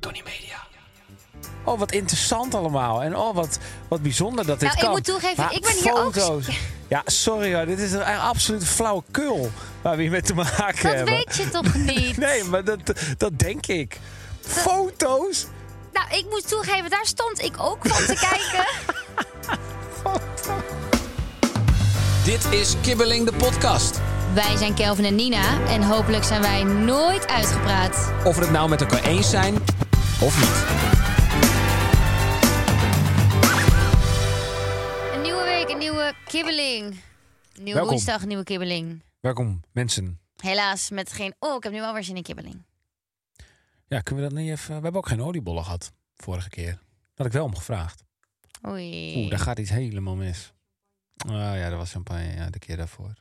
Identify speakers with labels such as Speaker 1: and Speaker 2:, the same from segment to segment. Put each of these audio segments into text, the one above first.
Speaker 1: Tony Media. Oh, wat interessant allemaal. En oh, wat, wat bijzonder dat dit
Speaker 2: Nou, ik
Speaker 1: kan.
Speaker 2: moet toegeven,
Speaker 1: Maar
Speaker 2: ik ben hier ook-
Speaker 1: foto's. Ja, sorry hoor. Dit is een absoluut flauwekul waar we hier mee te maken
Speaker 2: Dat
Speaker 1: hebben.
Speaker 2: weet je toch niet?
Speaker 1: Nee, maar dat, dat denk ik. Foto's?
Speaker 2: Nou, ik moet toegeven, daar stond ik ook van te kijken.
Speaker 3: Dit is Kibbeling de podcast.
Speaker 2: Wij zijn Kelvin en Nina en hopelijk zijn wij nooit uitgepraat.
Speaker 3: Of we het nou met elkaar eens zijn of niet.
Speaker 2: Een nieuwe week, een nieuwe kibbeling. Nieuwe
Speaker 1: Welkom.
Speaker 2: woensdag, nieuwe kibbeling.
Speaker 1: Welkom, mensen.
Speaker 2: Helaas met geen... Oh, ik heb nu wel weer zin in kibbeling.
Speaker 1: Ja, kunnen we dat niet even... We hebben ook geen oliebollen gehad vorige keer. Daar had ik wel om gevraagd.
Speaker 2: Oei.
Speaker 1: Oeh, daar gaat iets helemaal mis. Ah ja, dat was champagne ja, de keer daarvoor.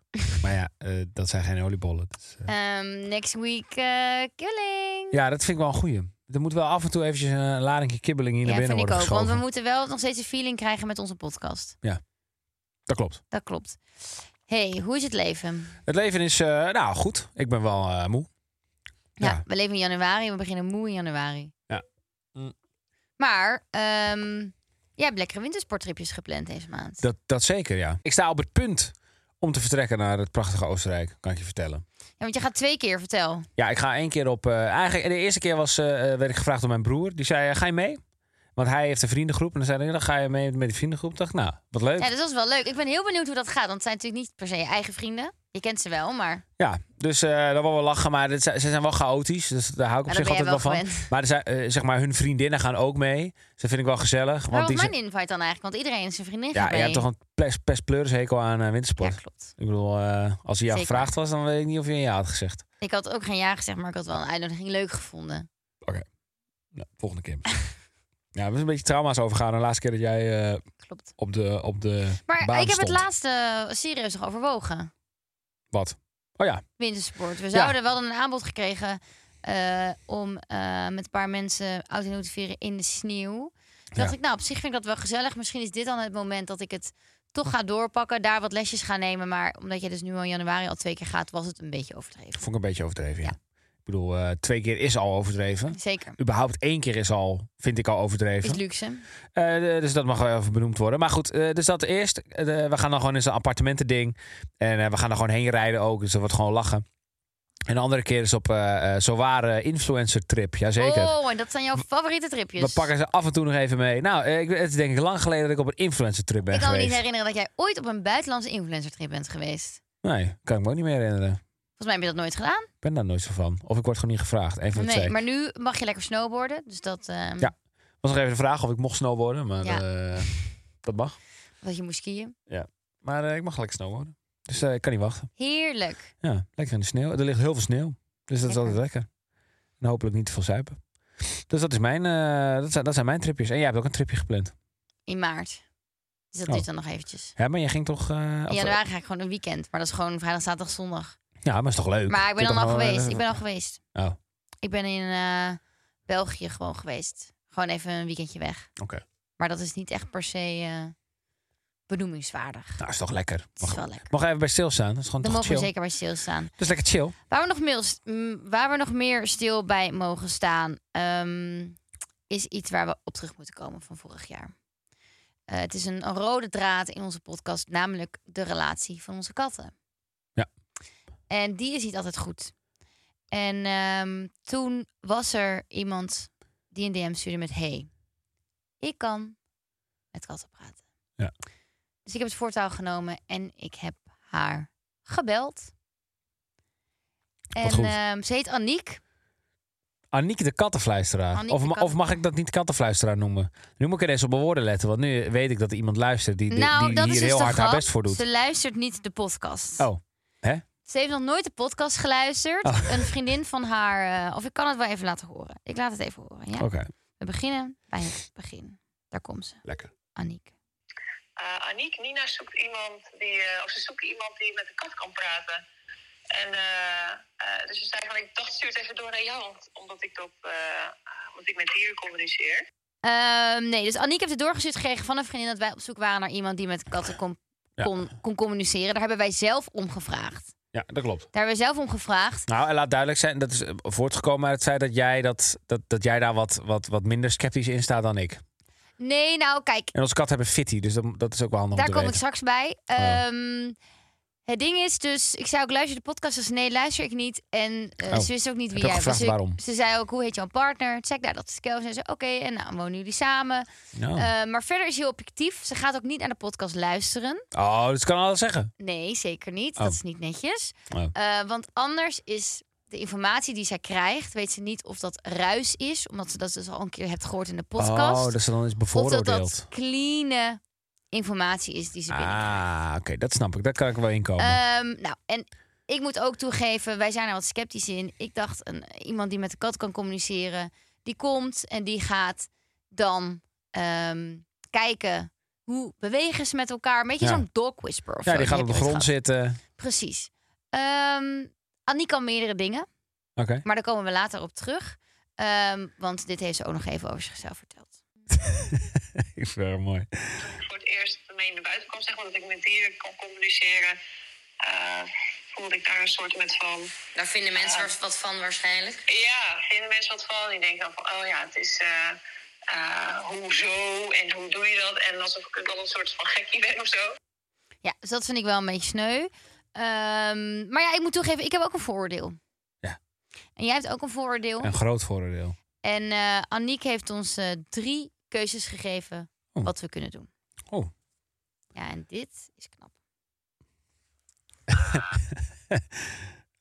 Speaker 1: maar ja, eh, dat zijn geen oliebollen. dus, eh.
Speaker 2: Ehm, next week eh kibbeling.
Speaker 1: Ja, dat vind ik wel een goeie. Er moet wel af en toe eventjes een ladingje kibbeling hier naar
Speaker 2: vind
Speaker 1: binnen
Speaker 2: ik ook.
Speaker 1: worden geschoven.
Speaker 2: Want we moeten wel nog steeds een feeling krijgen met onze podcast.
Speaker 1: Dat klopt.
Speaker 2: Dat klopt. hey, hoe is het leven?
Speaker 1: Het leven is, eh, nou goed, ik ben wel eh, moe.
Speaker 2: Ja,
Speaker 1: Ja.
Speaker 2: Nou, we leven in januari. We beginnen moe in januari. Hm.
Speaker 1: Ja. Mm.
Speaker 2: Maar ehm, jij hebt lekkere wintersporttripjes gepland deze maand.
Speaker 1: Dat, dat zeker, ja. Ik sta op het punt om te vertrekken naar het prachtige Oostenrijk, kan ik je vertellen.
Speaker 2: Ja, want je gaat twee keer, vertel.
Speaker 1: Ja, ik ga één keer op... eh, eigenlijk, de eerste keer was, eh, eh, werd ik gevraagd door mijn broer. Die zei, eh, ga je mee? Want hij heeft een vriendengroep. En dan zei hij, dan ga je mee met die vriendengroep. Ik dacht, nou, wat leuk.
Speaker 2: Ja, dus dat is wel leuk. Ik ben heel benieuwd hoe dat gaat. Want het zijn natuurlijk niet per se je eigen vrienden. Je kent ze wel, maar
Speaker 1: Ja, dus eh daar wel wel lachen, maar dit, zijn- ze zijn wel chaotisch. Dus daar hou ik op
Speaker 2: Ja, dat
Speaker 1: zich
Speaker 2: ben
Speaker 1: altijd
Speaker 2: jij
Speaker 1: wel van.
Speaker 2: wel gewend.
Speaker 1: Maar er zijn, eh, zeg maar, hun vriendinnen gaan ook mee. Dus dat vind ik wel gezellig.
Speaker 2: waar
Speaker 1: Want
Speaker 2: was
Speaker 1: die
Speaker 2: mijn
Speaker 1: zijn-
Speaker 2: invite dan eigenlijk? Want iedereen is zijn vriendin
Speaker 1: ja,
Speaker 2: gaat
Speaker 1: je
Speaker 2: mee.
Speaker 1: hebt toch een ples, pes pleurishekel aan eh,
Speaker 2: ja,
Speaker 1: wintersport.
Speaker 2: klopt.
Speaker 1: ik bedoel, eh, als hij jou
Speaker 2: Zeker.
Speaker 1: gevraagd was, dan weet ik niet of je een ja had gezegd.
Speaker 2: Ik had ook geen ja gezegd, maar ik had wel een uitnodiging leuk gevonden.
Speaker 1: Nou, volgende keer. ja, we zijn een beetje trauma's overgaan. De laatste keer dat jij eh,
Speaker 2: Klopt.
Speaker 1: op de, op de
Speaker 2: Maar
Speaker 1: baan
Speaker 2: ik heb
Speaker 1: stond.
Speaker 2: het laatste serieus nog overwogen.
Speaker 1: Wat? Oh ja,
Speaker 2: wintersport. We zouden wel een aanbod gekregen eh, om eh, met een paar mensen oud en nieuw te vieren in de sneeuw. Toen dacht
Speaker 1: Ja.
Speaker 2: ik, nou, op zich vind ik dat wel gezellig. Misschien is dit dan het moment dat ik het toch ga doorpakken. Daar wat lesjes ga nemen. Maar omdat je dus nu al in januari al twee keer gaat, was het een beetje overdreven.
Speaker 1: vond ik een beetje overdreven, ja.
Speaker 2: Ja.
Speaker 1: Ik bedoel, eh, twee keer is al overdreven.
Speaker 2: Zeker.
Speaker 1: Überhaupt één keer is al, vind ik al overdreven.
Speaker 2: Is luxe.
Speaker 1: Eh, dus dat mag wel even benoemd worden. Maar goed, eh, dus dat eerst. Eh, we gaan dan gewoon in zo'n appartementending. En eh, we gaan er gewoon heen rijden ook. Dus dat wordt gewoon lachen. En de andere keer is op eh eh zowaar influencer trip. Jazeker.
Speaker 2: Oh, en dat zijn jouw favoriete tripjes.
Speaker 1: We pakken ze af en toe nog even mee. Nou, eh, ik, het is denk ik lang geleden dat ik op een influencer trip ben
Speaker 2: ik kan me
Speaker 1: geweest.
Speaker 2: niet herinneren dat jij ooit op een buitenlandse influencer trip bent geweest.
Speaker 1: Nee, kan ik me ook niet meer herinneren.
Speaker 2: Volgens mij heb je dat nooit gedaan.
Speaker 1: Ik ben daar nooit zo van. Of ik word gewoon niet gevraagd. Even van de
Speaker 2: Nee,
Speaker 1: twee.
Speaker 2: maar nu mag je lekker snowboarden. Dus dat, ehm,
Speaker 1: Ja. was nog even de vraag of ik mocht snowboarden. Maar
Speaker 2: Ja.
Speaker 1: eh, dat mag.
Speaker 2: dat je moest skiën.
Speaker 1: Maar eh, ik mag lekker snowboarden. Dus eh, ik kan niet wachten.
Speaker 2: Heerlijk.
Speaker 1: Ja, lekker in de sneeuw. Er ligt heel veel sneeuw. Dus dat is
Speaker 2: Lekker.
Speaker 1: altijd lekker. En hopelijk niet te veel zuipen. Dus dat, is mijn, eh, dat, zijn, dat zijn mijn tripjes. En jij hebt ook een tripje gepland.
Speaker 2: in maart. Dus dat
Speaker 1: Oh.
Speaker 2: duurt dan nog eventjes.
Speaker 1: Ja, maar jij ging toch... eh,
Speaker 2: In
Speaker 1: of-
Speaker 2: januari ga ik gewoon een weekend. Maar dat is gewoon vrijdag, zaterdag, zondag.
Speaker 1: ja, maar is toch leuk?
Speaker 2: Maar ik ben
Speaker 1: Zit toch
Speaker 2: dan al
Speaker 1: gewoon,
Speaker 2: geweest.
Speaker 1: eh,
Speaker 2: Ik ben al geweest.
Speaker 1: Oh.
Speaker 2: Ik ben in eh, België gewoon geweest. Gewoon even een weekendje weg.
Speaker 1: Oké.
Speaker 2: Maar dat is niet echt per se eh, benoemingswaardig.
Speaker 1: Nou, is toch lekker.
Speaker 2: Het is
Speaker 1: Mag,
Speaker 2: wel lekker.
Speaker 1: mag even bij stilstaan. Dat is gewoon
Speaker 2: Daar
Speaker 1: toch
Speaker 2: mogen we
Speaker 1: chill.
Speaker 2: zeker bij stilstaan.
Speaker 1: Dat is lekker chill.
Speaker 2: Waar we nog, meer- mm, waar we nog meer stil bij mogen staan, ehm, is iets waar we op terug moeten komen van vorig jaar. Eh, het is een, een rode draad in onze podcast, namelijk de relatie van onze katten.
Speaker 1: Ja.
Speaker 2: En die is niet altijd goed. En ehm, toen was er iemand die een DM stuurde met: Hey, ik kan met katten praten.
Speaker 1: Ja.
Speaker 2: Dus ik heb het voortouw genomen en ik heb haar gebeld. En
Speaker 1: goed.
Speaker 2: ehm, ze heet Aniek.
Speaker 1: Aniek de kattenfluisteraar.
Speaker 2: Aniek
Speaker 1: of,
Speaker 2: de
Speaker 1: ma- of mag
Speaker 2: kattenfluisteraar.
Speaker 1: ik dat niet kattenfluisteraar noemen? Nu moet ik er eens op mijn woorden letten. Want nu weet ik dat er iemand luistert die, die,
Speaker 2: nou,
Speaker 1: die
Speaker 2: dat
Speaker 1: hier
Speaker 2: is dus
Speaker 1: heel
Speaker 2: de
Speaker 1: hard
Speaker 2: grap.
Speaker 1: haar best voor doet.
Speaker 2: Ze luistert niet de podcast.
Speaker 1: Oh, hè?
Speaker 2: Ze heeft nog nooit de podcast geluisterd.
Speaker 1: Oh.
Speaker 2: Een vriendin van haar. eh, of ik kan het wel even laten horen. Ik laat het even horen. Ja?
Speaker 1: Oké,
Speaker 2: We beginnen bij het begin. Daar komt ze,
Speaker 4: Lekker.
Speaker 2: Aniek.
Speaker 5: eh Aniek, Nina zoekt iemand die, eh, of ze zoeken iemand die met de kat kan praten. En eh, eh, dus ze zei van, ik dacht stuur het even door naar jou, want- omdat ik dat, eh, omdat ik met dieren communiceer.
Speaker 2: Ehm, nee, dus Aniek heeft het doorgestuurd gekregen van een vriendin dat wij op zoek waren naar iemand die met katten kon,
Speaker 1: Ja.
Speaker 2: kon, kon communiceren. Daar hebben wij zelf om gevraagd.
Speaker 4: Ja, dat klopt.
Speaker 2: Daar hebben wij zelf om gevraagd.
Speaker 1: nou en laat duidelijk zijn, dat is eh, voortgekomen uit het feit dat jij, dat, dat, dat jij daar wat, wat, wat minder sceptisch in staat dan ik.
Speaker 2: Nee, nou kijk,
Speaker 1: En onze kat hebben fitty, dus dat, dat is ook wel handig
Speaker 2: daar
Speaker 1: om
Speaker 2: kom
Speaker 1: te
Speaker 2: ik
Speaker 1: weten. Oh.
Speaker 2: straks bij.
Speaker 1: ja.
Speaker 2: Ehm, het ding is dus, ik zei ook luister je de podcast, dus nee, luister ik niet. En eh,
Speaker 1: Oh.
Speaker 2: ze wist ook niet wie
Speaker 1: ook
Speaker 2: jij was.
Speaker 1: gevraagd
Speaker 2: Ze,
Speaker 1: waarom.
Speaker 2: ze zei ook, hoe heet jouw partner? Check daar, dat is Kels. En ze oké, en nou wonen jullie samen.
Speaker 1: Oh.
Speaker 2: Eh, maar verder is heel objectief. Ze gaat ook niet naar de podcast luisteren.
Speaker 1: oh, dus kan alles zeggen.
Speaker 2: Nee, zeker niet.
Speaker 1: Oh.
Speaker 2: Dat is niet netjes.
Speaker 1: Oh.
Speaker 2: Eh, want anders is de informatie die zij krijgt, weet ze niet of dat ruis is, omdat ze dat dus al een keer hebt gehoord in de podcast.
Speaker 1: Oh, dus dan is
Speaker 2: of dat
Speaker 1: bevooroordeeld.
Speaker 2: dat clean informatie is die ze binnenkrijgt.
Speaker 1: Ah, oké, dat snap ik. Daar kan ik wel inkomen.
Speaker 2: Ehm, nou, en ik moet ook toegeven, wij zijn er wat sceptisch in. Ik dacht, een, iemand die met de kat kan communiceren, die komt en die gaat dan ehm, kijken hoe bewegen ze met elkaar. Een beetje
Speaker 1: Ja.
Speaker 2: zo'n dog whisper of
Speaker 1: ja,
Speaker 2: zo,
Speaker 1: die gaat op
Speaker 2: heb
Speaker 1: de
Speaker 2: je ooit
Speaker 1: grond
Speaker 2: gehad.
Speaker 1: zitten.
Speaker 2: Precies. Ehm Annie kan meerdere dingen,
Speaker 1: Oké.
Speaker 2: maar daar komen we later op terug. Ehm, want dit heeft ze ook nog even over zichzelf verteld.
Speaker 1: ik vind het mooi.
Speaker 5: Toen ik voor het eerst mee naar buiten kwam, zeg maar, dat ik met dieren kan communiceren, eh, voelde ik daar een soort met van,
Speaker 6: Daar vinden mensen waar- wat van waarschijnlijk.
Speaker 5: ja, vinden mensen wat van. Die denken dan van, oh ja, het is... eh, eh, hoezo en hoe doe je dat? En alsof ik dan een soort van gekkie ben of zo.
Speaker 2: Ja, dus dat vind ik wel een beetje sneu. Ehm, maar ja, ik moet toegeven, ik heb ook een vooroordeel.
Speaker 1: Ja.
Speaker 2: En jij hebt ook een vooroordeel.
Speaker 1: Een groot voordeel.
Speaker 2: En eh Aniek heeft ons eh, drie keuzes gegeven
Speaker 1: Oh.
Speaker 2: wat we kunnen doen.
Speaker 1: Oh.
Speaker 2: Ja, en dit is knap.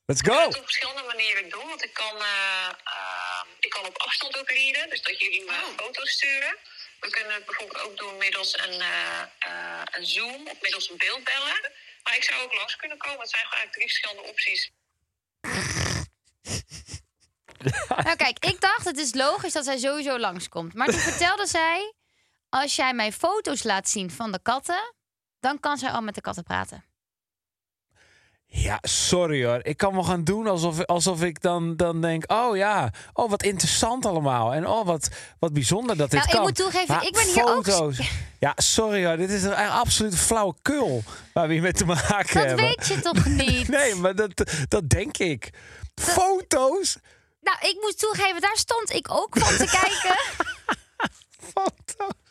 Speaker 1: Let's
Speaker 5: kan
Speaker 1: go!
Speaker 5: het op verschillende manieren doen. Want ik kan, eh, eh, ik kan op afstand ook readen, dus dat jullie me foto's sturen. We kunnen het bijvoorbeeld ook doen middels een, eh, eh, een Zoom of middels een beeldbellen. Maar ik zou ook langs kunnen komen. Het zijn gewoon eigenlijk drie verschillende opties.
Speaker 2: Nou kijk, ik dacht het is logisch dat zij sowieso langskomt. Maar toen vertelde zij, als jij mij foto's laat zien van de katten, dan kan zij al met de katten praten.
Speaker 1: Ja, sorry hoor. Ik kan wel gaan doen alsof, alsof ik dan, dan denk... oh ja, oh wat interessant allemaal. En oh wat, wat bijzonder dat dit
Speaker 2: Nou, ik
Speaker 1: kan.
Speaker 2: moet toegeven,
Speaker 1: Maar
Speaker 2: ik ben hier ook-
Speaker 1: foto's. Ja, sorry hoor. Dit is een absoluut flauwekul waar we hier mee te maken
Speaker 2: Dat
Speaker 1: hebben.
Speaker 2: weet je toch niet?
Speaker 1: Nee, maar dat, dat denk ik. Foto's?
Speaker 2: Nou, ik moet toegeven, daar stond ik ook van te kijken.
Speaker 1: Foto's.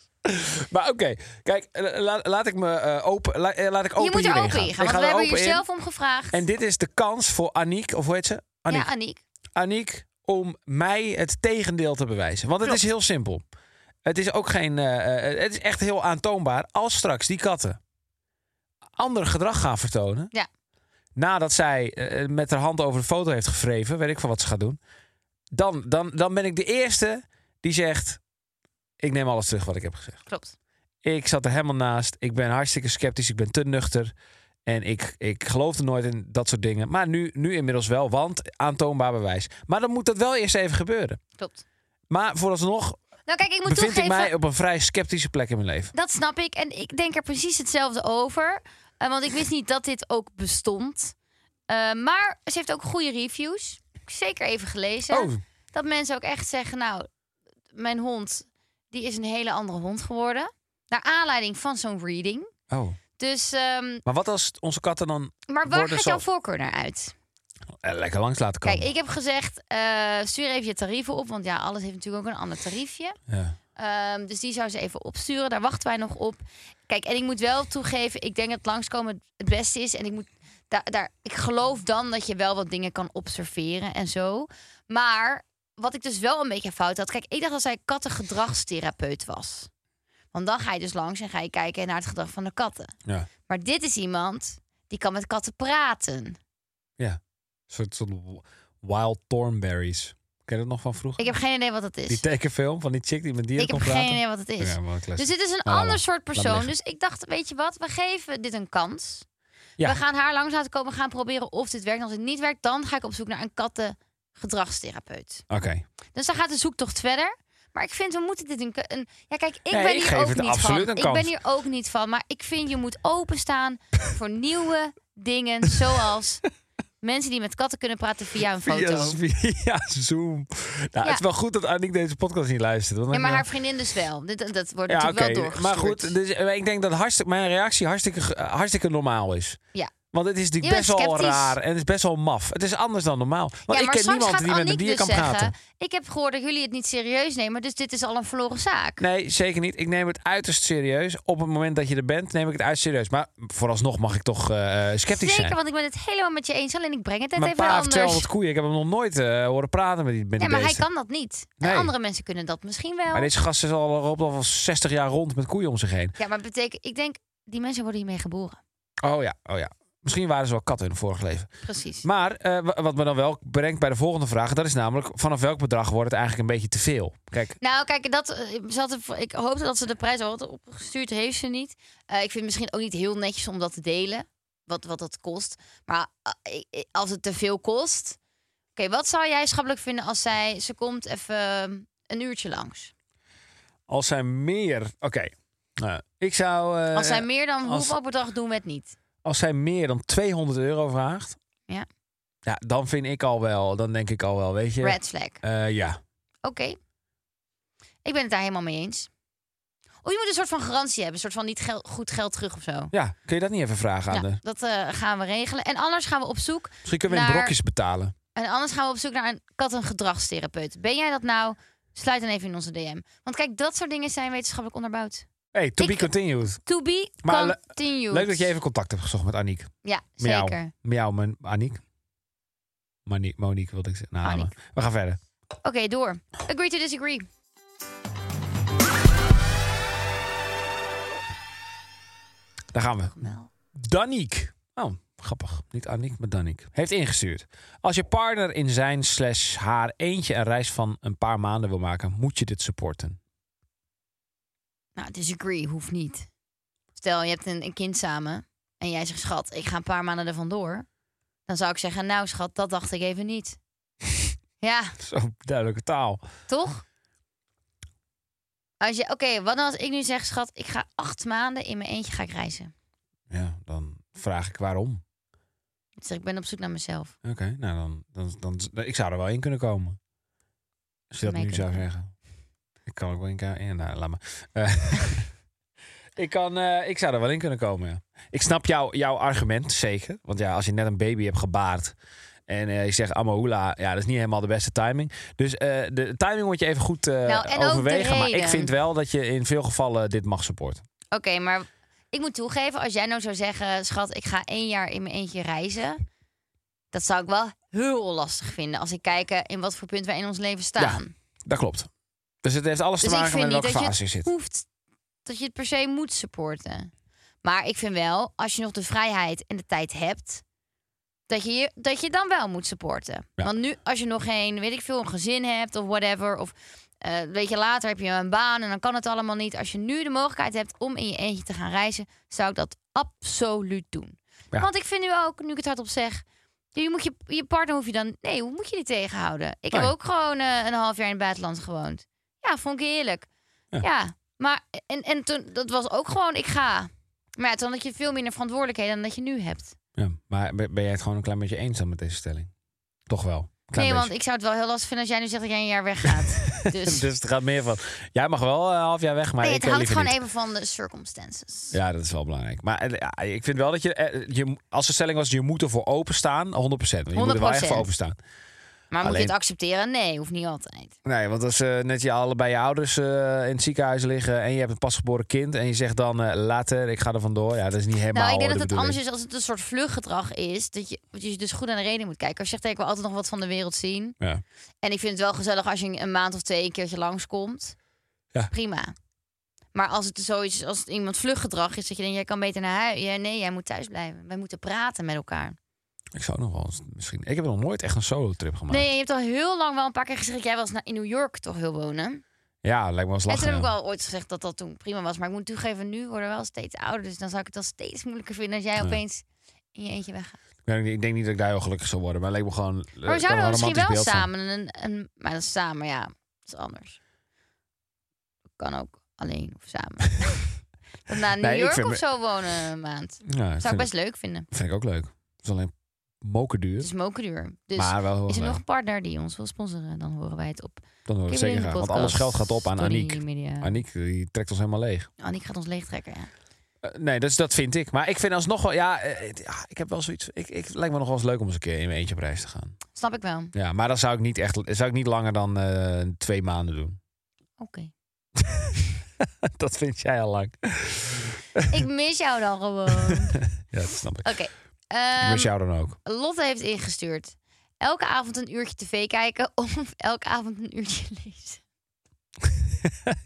Speaker 1: Maar oké, kijk, eh, la- laat ik me eh, open, la- eh, laat ik open
Speaker 2: je moet er
Speaker 1: hierin
Speaker 2: open
Speaker 1: gaan.
Speaker 2: in
Speaker 1: Ik
Speaker 2: gaan,
Speaker 1: ga
Speaker 2: want we
Speaker 1: er
Speaker 2: hebben
Speaker 1: open
Speaker 2: hier
Speaker 1: in.
Speaker 2: zelf om gevraagd.
Speaker 1: En dit is de kans voor Aniek, of hoe heet ze? Aniek.
Speaker 2: Ja, Aniek.
Speaker 1: Aniek, om mij het tegendeel te bewijzen. Want het is heel simpel. Het is ook geen. eh, eh, het is echt heel aantoonbaar. Als straks die katten ander gedrag gaan vertonen.
Speaker 2: Ja.
Speaker 1: Nadat zij eh, met haar hand over de foto heeft gevreven, weet ik van wat ze gaat doen. Dan, dan, dan ben ik de eerste die zegt: Ik neem alles terug wat ik heb gezegd.
Speaker 2: Klopt.
Speaker 1: Ik zat er helemaal naast. Ik ben hartstikke sceptisch. Ik ben te nuchter. En ik, ik geloofde nooit in dat soort dingen. Maar nu, nu inmiddels wel, want aantoonbaar bewijs. Maar dan moet dat wel eerst even gebeuren.
Speaker 2: Klopt.
Speaker 1: Maar vooralsnog
Speaker 2: Nou kijk, ik moet
Speaker 1: bevind ik
Speaker 2: toegeven,
Speaker 1: mij op een vrij sceptische plek in mijn leven.
Speaker 2: dat snap ik. En ik denk er precies hetzelfde over. Eh, want ik wist niet dat dit ook bestond. Eh, maar ze heeft ook goede reviews. Ik heb Zeker even gelezen.
Speaker 1: Oh,
Speaker 2: Dat mensen ook echt zeggen, nou, mijn hond, die is een hele andere hond geworden. Naar aanleiding van zo'n reading.
Speaker 1: oh.
Speaker 2: Dus, ehm,
Speaker 1: Maar wat als onze katten dan
Speaker 2: maar waar
Speaker 1: Worden
Speaker 2: gaat
Speaker 1: zo-
Speaker 2: jouw voorkeur naar uit?
Speaker 1: eh, lekker langs laten komen?
Speaker 2: Kijk, ik heb gezegd, eh, stuur even je tarieven op. Want ja, alles heeft natuurlijk ook een ander tariefje.
Speaker 1: Ja.
Speaker 2: Ehm, dus die zou ze even opsturen. Daar wachten wij nog op. Kijk, en ik moet wel toegeven, ik denk dat langskomen het beste is. En ik moet daar, daar, ik geloof dan dat je wel wat dingen kan observeren en zo. Maar wat ik dus wel een beetje fout had. Kijk, ik dacht dat zij kattengedragstherapeut was. Want dan ga je dus langs en ga je kijken naar het gedrag van de katten.
Speaker 1: Ja.
Speaker 2: Maar dit is iemand die kan met katten praten.
Speaker 1: Een soort, soort Wild Thornberries. Ken je dat nog van vroeger?
Speaker 2: Ik heb geen idee wat dat
Speaker 1: Die
Speaker 2: is.
Speaker 1: tekenfilm van die chick die met dieren
Speaker 2: Ik heb
Speaker 1: kon
Speaker 2: geen
Speaker 1: praten.
Speaker 2: idee wat het is.
Speaker 1: Ja, wel een
Speaker 2: Dus
Speaker 1: classic.
Speaker 2: dit is een
Speaker 1: Nou, laat
Speaker 2: ander
Speaker 1: maar.
Speaker 2: soort Dus
Speaker 1: Laat maar
Speaker 2: persoon.
Speaker 1: liggen.
Speaker 2: Dus ik dacht, weet je wat, we geven dit een kans.
Speaker 1: Ja.
Speaker 2: We gaan haar langs laten komen. We gaan proberen of dit werkt. En als het niet werkt, dan ga ik op zoek naar een kattengedragstherapeut.
Speaker 1: Oké.
Speaker 2: Dus dan gaat de zoektocht verder. Maar ik vind, we moeten dit een... ke- een ja, kijk, ik
Speaker 1: Nee,
Speaker 2: ben
Speaker 1: ik
Speaker 2: hier
Speaker 1: geef
Speaker 2: ook
Speaker 1: het
Speaker 2: niet
Speaker 1: absoluut
Speaker 2: van.
Speaker 1: een
Speaker 2: Ik
Speaker 1: kans.
Speaker 2: ben hier ook niet van. Maar ik vind, je moet openstaan voor nieuwe dingen. Zoals mensen die met katten kunnen praten via een foto.
Speaker 1: Via, via Zoom. Nou, Het is wel goed dat Annick deze podcast niet luistert. want
Speaker 2: Ja,
Speaker 1: dan,
Speaker 2: maar
Speaker 1: eh,
Speaker 2: haar vriendin dus wel. Dat, dat- dat wordt
Speaker 1: Ja,
Speaker 2: natuurlijk wel
Speaker 1: oké.
Speaker 2: doorgestuurd.
Speaker 1: Maar goed, dus, eh, ik denk dat hartstikke, mijn reactie hartstikke, ge- eh, hartstikke normaal is.
Speaker 2: Ja.
Speaker 1: Want het is natuurlijk
Speaker 2: Je
Speaker 1: best
Speaker 2: bent
Speaker 1: wel
Speaker 2: sceptisch.
Speaker 1: raar en het is best wel maf. Het is anders dan normaal. Want
Speaker 2: ja,
Speaker 1: ik
Speaker 2: maar
Speaker 1: ken
Speaker 2: straks
Speaker 1: niemand
Speaker 2: gaat
Speaker 1: die met een
Speaker 2: Anniek
Speaker 1: dierkamp
Speaker 2: dus
Speaker 1: gaat.
Speaker 2: zeggen... Ik heb gehoord dat jullie het niet serieus nemen, dus dit is al een verloren zaak.
Speaker 1: Nee, zeker niet. Ik neem het uiterst serieus. Op het moment dat je er bent, neem ik het uiterst serieus. Maar vooralsnog mag ik toch eh, eh, sceptisch
Speaker 2: Zeker,
Speaker 1: zijn.
Speaker 2: want ik ben het helemaal met je eens. Alleen ik breng het net
Speaker 1: Mijn
Speaker 2: even
Speaker 1: pa heeft
Speaker 2: anders.
Speaker 1: 200 koeien. Ik heb hem nog nooit eh, horen praten met die, met
Speaker 2: Ja,
Speaker 1: die
Speaker 2: maar hij
Speaker 1: beesten.
Speaker 2: kan dat niet. En
Speaker 1: Nee.
Speaker 2: Andere mensen kunnen dat misschien wel.
Speaker 1: Maar deze gast is al op al 60 jaar rond met koeien om zich heen.
Speaker 2: Ja, maar betekent, ik denk, die mensen worden hiermee geboren.
Speaker 1: Oh ja, oh ja. Misschien waren ze wel katten in het vorige leven.
Speaker 2: Precies.
Speaker 1: Maar eh, wa- wat me dan wel brengt bij de volgende vraag, dat is namelijk vanaf welk bedrag wordt het eigenlijk een beetje te veel? Kijk,
Speaker 2: Nou, kijk, dat, eh, ze had er- ik hoopte dat ze de prijs al had opgestuurd, heeft ze niet. Eh, ik vind het misschien ook niet heel netjes om dat te delen, wat, wat dat kost. Maar eh, ik- ik- als het te veel kost... Oké, wat zou jij schappelijk vinden als zij... Ze komt even een uurtje langs.
Speaker 1: als zij meer. Oké. Nou, ik zou. eh,
Speaker 2: Als zij meer dan...
Speaker 1: als-
Speaker 2: Hoeveel bedrag doen we het niet?
Speaker 1: als zij meer dan 200 euro vraagt.
Speaker 2: Ja.
Speaker 1: Ja, dan vind ik al wel. Dan denk ik al wel, weet je.
Speaker 2: Red flag. Oké.
Speaker 1: Eh, ja.
Speaker 2: Ik ben het daar helemaal mee eens. Oh, je moet een soort van garantie hebben. Een soort van niet gel- goed geld terug of zo.
Speaker 1: Ja, kun je dat niet even vragen aan
Speaker 2: Ja,
Speaker 1: de.
Speaker 2: dat eh, gaan we regelen. En anders gaan we op zoek
Speaker 1: Misschien kunnen we in
Speaker 2: Naar-
Speaker 1: brokjes betalen.
Speaker 2: En anders gaan we op zoek naar een kattengedragstherapeut. Ben jij dat nou? Sluit dan even in onze DM. Want kijk, dat soort dingen zijn wetenschappelijk onderbouwd.
Speaker 1: Hey, to
Speaker 2: Ik-
Speaker 1: be continued.
Speaker 2: To be
Speaker 1: Maar le-
Speaker 2: continued.
Speaker 1: Leuk dat je even contact hebt gezocht met Aniek.
Speaker 2: Ja,
Speaker 1: Miauw.
Speaker 2: zeker.
Speaker 1: Miauw, mijn Aniek. Monique, Monique wilde ik zeggen. Nou,
Speaker 2: Aniek.
Speaker 1: we gaan verder.
Speaker 2: Oké, door. Agree to disagree.
Speaker 1: Daar gaan we. Daniek. Oh, grappig. Niet Aniek, maar Daniek. Heeft ingestuurd. Als je partner in zijn slash haar eentje een reis van een paar maanden wil maken, moet je dit supporten.
Speaker 2: Nou, disagree hoeft niet. Stel, je hebt een, een kind samen en jij zegt, schat, ik ga een paar maanden er vandoor. Dan zou ik zeggen, nou schat, dat dacht ik even niet. ja,
Speaker 1: Zo duidelijke taal.
Speaker 2: toch? Als je, oké, wat nou als ik nu zeg, schat, ik ga acht maanden in mijn eentje ga ik reizen.
Speaker 1: Ja, dan vraag ik waarom.
Speaker 2: Ik zeg, ik ben op zoek naar mezelf.
Speaker 1: Oké, nou dan, dan, dan... Ik zou er wel in kunnen komen. Als je dat
Speaker 2: Mij
Speaker 1: nu zou
Speaker 2: kunnen.
Speaker 1: zeggen. Ik kan ook wel in... ka- Ja, nou, laat maar. Eh, ik, kan, eh, ik zou er wel in kunnen komen, ja. Ik snap jou, jouw argument, zeker. Want ja, als je net een baby hebt gebaard... En eh, je zegt Amahula, ja, dat is niet helemaal de beste timing. Dus eh, de timing moet je even goed eh,
Speaker 2: Nou, en ook de
Speaker 1: overwegen. Maar ik
Speaker 2: reden.
Speaker 1: vind wel dat je in veel gevallen dit mag supporten.
Speaker 2: Oké, maar ik moet toegeven, als jij nou zou zeggen, schat, ik ga één jaar in mijn eentje reizen. Dat zou ik wel heel lastig vinden als ik kijk eh, in wat voor punt wij in ons leven staan.
Speaker 1: Dat klopt. Dus het heeft alles
Speaker 2: dus
Speaker 1: te
Speaker 2: ik
Speaker 1: maken
Speaker 2: vind
Speaker 1: met
Speaker 2: niet
Speaker 1: welke
Speaker 2: dat
Speaker 1: fase
Speaker 2: je
Speaker 1: je
Speaker 2: het
Speaker 1: zit.
Speaker 2: hoeft, dat je het per se moet supporten. Maar ik vind wel, als je nog de vrijheid en de tijd hebt, dat je je, dat je dan wel moet supporten.
Speaker 1: Ja.
Speaker 2: Want nu, als je nog geen, weet ik veel, een gezin hebt of whatever, of eh, een beetje later heb je een baan en dan kan het allemaal niet. Als je nu de mogelijkheid hebt om in je eentje te gaan reizen, zou ik dat absoluut doen.
Speaker 1: Ja.
Speaker 2: Want ik vind nu ook, nu ik het hardop zeg, je moet je, je partner hoef je dan, nee, hoe moet je die tegenhouden? Ik
Speaker 1: Nee.
Speaker 2: heb ook gewoon eh, een half jaar in het buitenland gewoond. Ja, vond ik heerlijk. Ja, maar en, en toen, dat was ook gewoon, ik ga. Maar ja, toen had je veel minder verantwoordelijkheden dan dat je nu hebt.
Speaker 1: Ja, maar ben ben jij het gewoon een klein beetje eens dan met deze stelling? Toch wel. Klein
Speaker 2: nee, want
Speaker 1: beetje.
Speaker 2: ik zou het wel heel lastig vinden als jij nu zegt dat jij een jaar weggaat. dus
Speaker 1: Dus het gaat meer van. Jij mag wel eh, een half jaar weg, maar
Speaker 2: nee, het
Speaker 1: ik eh,
Speaker 2: hangt
Speaker 1: liever
Speaker 2: gewoon
Speaker 1: niet.
Speaker 2: even van de circumstances.
Speaker 1: Ja, dat is wel belangrijk. Maar eh, ja, ik vind wel dat je, eh, je. Als de stelling was, je moet ervoor openstaan, 100%. Want je moet er wel echt
Speaker 2: 100%.
Speaker 1: voor openstaan.
Speaker 2: Maar moet
Speaker 1: Alleen-
Speaker 2: je het accepteren? Nee, hoeft niet altijd.
Speaker 1: Nee, want als eh, net je allebei je ouders eh, in het ziekenhuis liggen en je hebt een pasgeboren kind en je zegt dan eh, later, ik ga er vandoor. Ja, dat is niet helemaal.
Speaker 2: nou, ik denk
Speaker 1: eh,
Speaker 2: dat
Speaker 1: de
Speaker 2: het anders
Speaker 1: bedoeling.
Speaker 2: is als het een soort vluchtgedrag is. Dat je, dat je dus goed aan de reden moet kijken. Als je zegt, hey, ik wil altijd nog wat van de wereld zien.
Speaker 1: Ja.
Speaker 2: En ik vind het wel gezellig als je een maand of twee een keertje langskomt.
Speaker 1: Ja.
Speaker 2: Prima. Maar als het zoiets is, als het iemand vluchtgedrag is, dat je denkt, jij kan beter naar huis. Ja, nee, jij moet thuis blijven. Wij moeten praten met elkaar.
Speaker 1: Ik zou nog wel eens misschien. Ik heb nog nooit echt een solo trip gemaakt.
Speaker 2: Nee, je hebt al heel lang wel een paar keer gezegd... jij was na- in New York toch heel wonen.
Speaker 1: Ja, lijkt me wel eens
Speaker 2: en
Speaker 1: lachen.
Speaker 2: toen heb ik
Speaker 1: ja.
Speaker 2: wel ooit gezegd dat dat toen prima was. Maar ik moet toegeven, nu worden we wel steeds ouder. Dus dan zou ik het al steeds moeilijker vinden... als jij opeens in je eentje weggaan.
Speaker 1: Ik, weet niet, ik denk niet dat ik daar heel gelukkig zou worden, maar het leek me gewoon. eh,
Speaker 2: Maar we
Speaker 1: kan
Speaker 2: zouden
Speaker 1: een
Speaker 2: misschien
Speaker 1: romantisch
Speaker 2: wel
Speaker 1: beeld zijn.
Speaker 2: samen een, een... Maar dat is samen, ja. Dat is anders. Kan ook alleen of samen. Dan naar New
Speaker 1: Nee, ik
Speaker 2: York
Speaker 1: vind
Speaker 2: of
Speaker 1: me-
Speaker 2: zo wonen een maand.
Speaker 1: Ja,
Speaker 2: Zou ik
Speaker 1: vind,
Speaker 2: best leuk vinden.
Speaker 1: vind ik ook leuk. Het is alleen mokerduur,
Speaker 2: Het is mokerduur. Dus
Speaker 1: maar wel heel
Speaker 2: is er
Speaker 1: leuk.
Speaker 2: nog een partner die ons wil sponsoren? Dan horen wij het op.
Speaker 1: Dan hoor ik
Speaker 2: Kibbelen
Speaker 1: zeker
Speaker 2: in de
Speaker 1: graag. Want
Speaker 2: podcast.
Speaker 1: alles geld gaat op aan
Speaker 2: Story
Speaker 1: Aniek.
Speaker 2: Media.
Speaker 1: Aniek, die trekt ons helemaal leeg.
Speaker 2: Aniek gaat ons leegtrekken, ja.
Speaker 1: Eh, nee, dat, is- dat vind ik. Maar ik vind alsnog wel... Ja, eh, het- ja, ik heb wel zoiets... Ik, ik, het lijkt me nog wel eens leuk om eens een keer in mijn eentje op reis te gaan.
Speaker 2: Snap ik wel. Oké.
Speaker 1: Ja, maar dan zou ik niet echt... Zou ik niet langer dan eh, twee maanden doen. dat vind jij al lang.
Speaker 2: Ik mis jou dan gewoon. Oké.
Speaker 1: Ja, dat snap ik.
Speaker 2: ehm,
Speaker 1: Ik mis jou dan ook.
Speaker 2: Lotte heeft ingestuurd. Elke avond een uurtje tv kijken of elke avond een uurtje lezen.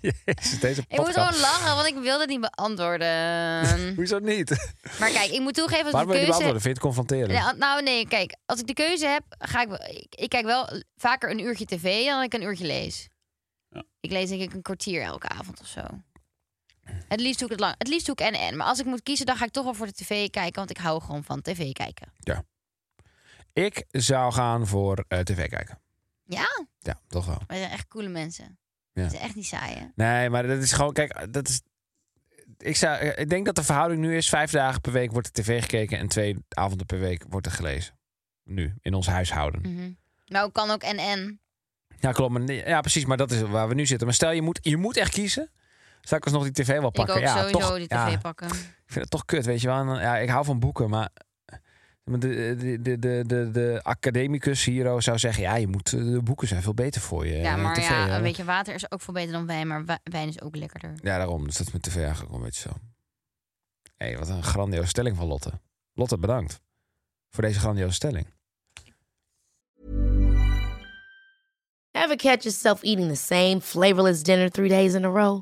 Speaker 1: Jezus, deze
Speaker 2: Ik moet
Speaker 1: podcast.
Speaker 2: gewoon lachen, want ik wil dat niet beantwoorden.
Speaker 1: Hoezo niet?
Speaker 2: Maar kijk, ik moet toegeven als ik
Speaker 1: Waarom
Speaker 2: de
Speaker 1: wil je die
Speaker 2: keuze...
Speaker 1: beantwoorden? Vind je het confronterend?
Speaker 2: Ja, nou nee, kijk, als ik de keuze heb, ga ik, wel- ik, ik kijk wel vaker een uurtje tv dan ik een uurtje lees. Ik lees denk ik een kwartier elke avond of zo. Het liefst doe ik het lang. Het liefst doe ik en en. Maar als ik moet kiezen, dan ga ik toch wel voor de tv kijken, want ik hou gewoon van tv kijken.
Speaker 1: Ik zou gaan voor eh, tv kijken.
Speaker 2: Ja,
Speaker 1: Ja, toch wel.
Speaker 2: wij zijn echt coole mensen.
Speaker 1: Ja.
Speaker 2: Het is echt niet saai, hè?
Speaker 1: Nee, maar dat is gewoon, kijk, dat is. Ik, zou, eh, ik denk dat de verhouding nu is: vijf dagen per week wordt er tv gekeken en twee avonden per week wordt er gelezen. Nu, in ons huishouden.
Speaker 2: Mhm. Maar ook kan ook en en.
Speaker 1: Ja, klopt. Maar, nee- ja, precies, maar dat is waar we nu zitten. Maar stel, je moet, je moet echt kiezen. Zou ik alsnog die tv wel pakken?
Speaker 2: ik ook
Speaker 1: ja,
Speaker 2: sowieso
Speaker 1: toch,
Speaker 2: die tv
Speaker 1: ja,
Speaker 2: pakken.
Speaker 1: Ik vind het toch kut, weet je wel. En dan- Ja, ik hou van boeken, maar maar de, de, de, de, de, de academicus hier oh, zou zeggen... ja, je moet, de boeken zijn veel beter voor je.
Speaker 2: Ja,
Speaker 1: eh,
Speaker 2: maar
Speaker 1: tv,
Speaker 2: ja,
Speaker 1: hè.
Speaker 2: een beetje water is ook veel beter dan wijn, maar wa- wijn is ook lekkerder.
Speaker 1: Ja, daarom. Dus dat is met tv eigenlijk wel een beetje zo. Hé, wat een grandioze stelling van Lotte. Lotte, bedankt voor deze grandioze stelling.
Speaker 4: Ever catch yourself eating the same flavorless dinner three days in a row?